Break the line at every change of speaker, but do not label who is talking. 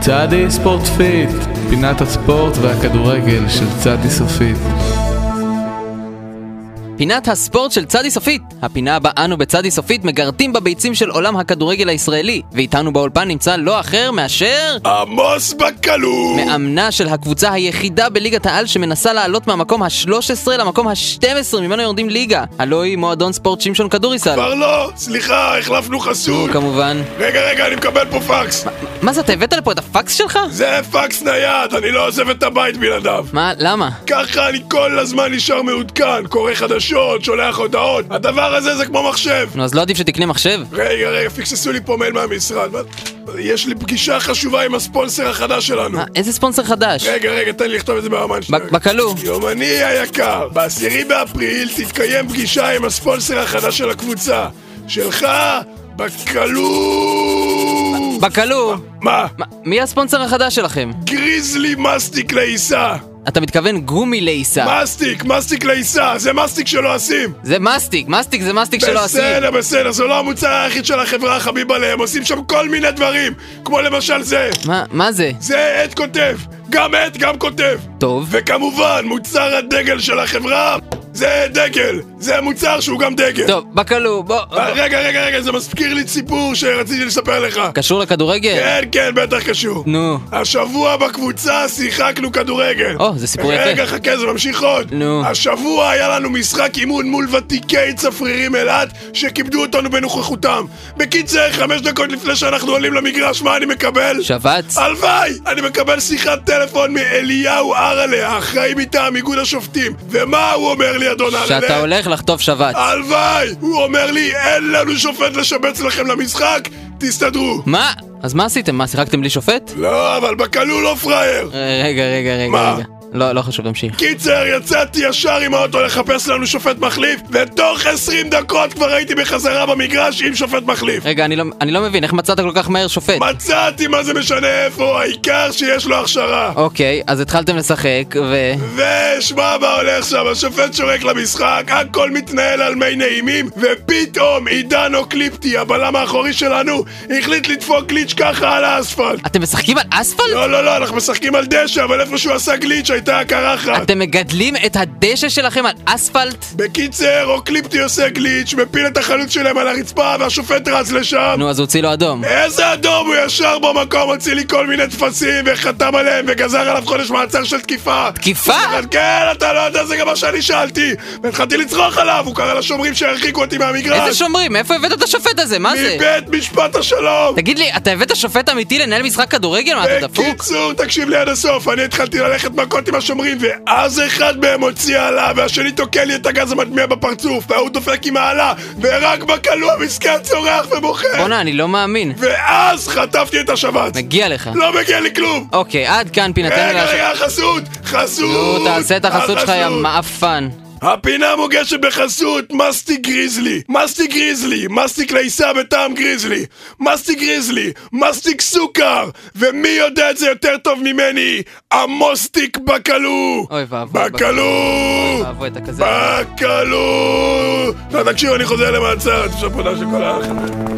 צעדי ספורט פיט, פינת הספורט והכדורגל של צעדי סופית.
פינת הספורט של צדי סופית! הפינה הבאה אנו בצדי סופית מגרדים בביצים של עולם הכדורגל הישראלי ואיתנו באולפן נמצא לא אחר מאשר...
עמוס בקלו!
מאמנה של הקבוצה היחידה בליגת העל שמנסה לעלות מהמקום ה-13 למקום ה-12 ממנו יורדים ליגה הלא היא מועדון ספורט שמשון כדוריסל
כבר לא! סליחה, החלפנו חסות!
כמובן
רגע, רגע, אני מקבל פה פקס!
מה זה, אתה הבאת לפה את הפקס שלך?
זה פקס נייד, אני לא עוזב את הבית בלעדיו!
מה, למה?
ככה אני כל הזמן נשאר מעודכן, קורא חדשות, שולח הודעות, הדבר הזה זה כמו מחשב!
נו, אז לא עדיף שתקנה מחשב?
רגע, רגע, פיקססו לי פה מייל מהמשרד, מה- יש לי פגישה חשובה עם הספונסר החדש שלנו!
מה, איזה ספונסר חדש?
רגע, רגע, תן לי לכתוב את זה ברמה שלי.
ב- בקלו.
יומני היקר, ב-10 באפריל תתקיים פגישה עם הספונסר החדש של הקבוצה. שלך, בקלו!
בקלו!
מה?
מה, מי הספונסר החדש שלכם?
גריזלי מסטיק לעיסה!
אתה מתכוון גומי לעיסה
מסטיק, מסטיק לעיסה, זה מסטיק שלא עשים!
זה מסטיק, מסטיק זה מסטיק שלא עשית
בסדר, בסדר, זה לא המוצר היחיד של החברה החביבה להם, עושים שם כל מיני דברים, כמו למשל זה,
מה, מה זה?
זה עט כותב, גם עט גם כותב,
טוב
וכמובן, מוצר הדגל של החברה זה דגל, זה מוצר שהוא גם דגל.
טוב, בקלו, בוא
אה, רגע, רגע, רגע, זה מזכיר לי סיפור שרציתי לספר לך.
קשור לכדורגל?
כן, כן, בטח קשור.
נו
השבוע בקבוצה שיחקנו כדורגל.
או, זה סיפור יפה.
רגע, חכה, זה ממשיך עוד.
נו.
השבוע היה לנו משחק אימון מול ותיקי צפרירים אילת, שכיבדו אותנו בנוכחותם. בקיצר, חמש דקות לפני שאנחנו עולים למגרש, מה אני מקבל?
שבץ?
אה, הלוואי! אני מקבל שיחת טלפון מאליהו ארלה, האחראי מטעם איגוד השופטים. ומה הוא אומר לי, אדון ארלה?
שאתה הולך לחטוף שבץ
אה. הלוואי! הוא אומר לי, אין לנו שופט לשבץ לכם למשחק, תסתדרו.
מה? אז מה עשיתם? מה, שיחקתם בלי שופט?
לא, אבל בקלו לא פראייר.
אה, רגע, רגע, רגע,
מה?
רגע לא, לא חשוב, תמשיך
קיצר, יצאתי ישר עם האוטו לחפש לנו שופט מחליף, ותוך 20 דקות כבר הייתי בחזרה במגרש עם שופט מחליף.
רגע, אני לא, אני לא מבין, איך מצאת כל כך מהר שופט?
מצאתי מה זה משנה איפה, העיקר שיש לו הכשרה.
אוקיי, אז התחלתם לשחק, ו...
ושמע מה הולך שם, השופט שורק למשחק, הכל מתנהל על מי נעימים, ופתאום עידן אוקליפטי, הבלם האחורי שלנו, החליט לדפוק גליץ' ככה על האספלט.
אתם משחקים על אספלט?
לא, לא, לא, אנחנו משחקים על דשא, אבל איפה שהוא עשה גליץ' הייתה הקרחת.
אתם מגדלים את הדשא שלכם על אספלט?
בקיצר, אוקליפטי עושה גליץ', מפיל את החלוץ שלהם על הרצפה, והשופט רץ לשם.
נו, אז הוציא לו אדום.
איזה אדום, הוא ישר במקום, הוציא לי כל מיני טפסים, וחתם עליהם, וגזר עליו חודש מעצר של תקיפה.
תקיפה?
כן, אתה לא יודע, זה גם מה שאני שאלתי. והתחלתי לצרוח עליו, הוא קרא לשומרים שירחיקו אותי מהמגרש.
איזה שומרים? מאיפה הבאת את השופט הזה? מה זה?
מבית משפט השלום!
תגיד לי, אתה הבאת שופט אמיתי לנהל משחק כדורגל? מה, אתה דפוק?
בקיצור, תקשיב לי עד הסוף, אני התחלתי ללכת מכות עם השומרים, ואז אחד מהם הוציא עלה, והשני תוקע לי את הגז המדמיע בפרצוף, וההוא דופק עם העלה, ורק בכלוא המסכן צורח ובוכה.
בואנה, אני לא מאמין.
ואז חטפתי את השבץ.
מגיע לך.
לא מגיע לי כלום!
אוקיי, עד כאן פינתנו
רגע,
להשאר...
רגע, חסות! חסות!
נו, תעשה את החסות שלך, יא מעפן.
הפינה מוגשת בחסות מסטי גריזלי, מסטי גריזלי, מסטי קלייסה בטעם גריזלי, מסטי גריזלי, מסטיק סוכר, ומי יודע את זה יותר טוב ממני? המוסטיק בקלו!
אוי ואבוי.
בקלו!
ואבוי, אתה כזה...
בקלו! לא, תקשיב, אני חוזר למעצר, תשפונה של כל האחרים.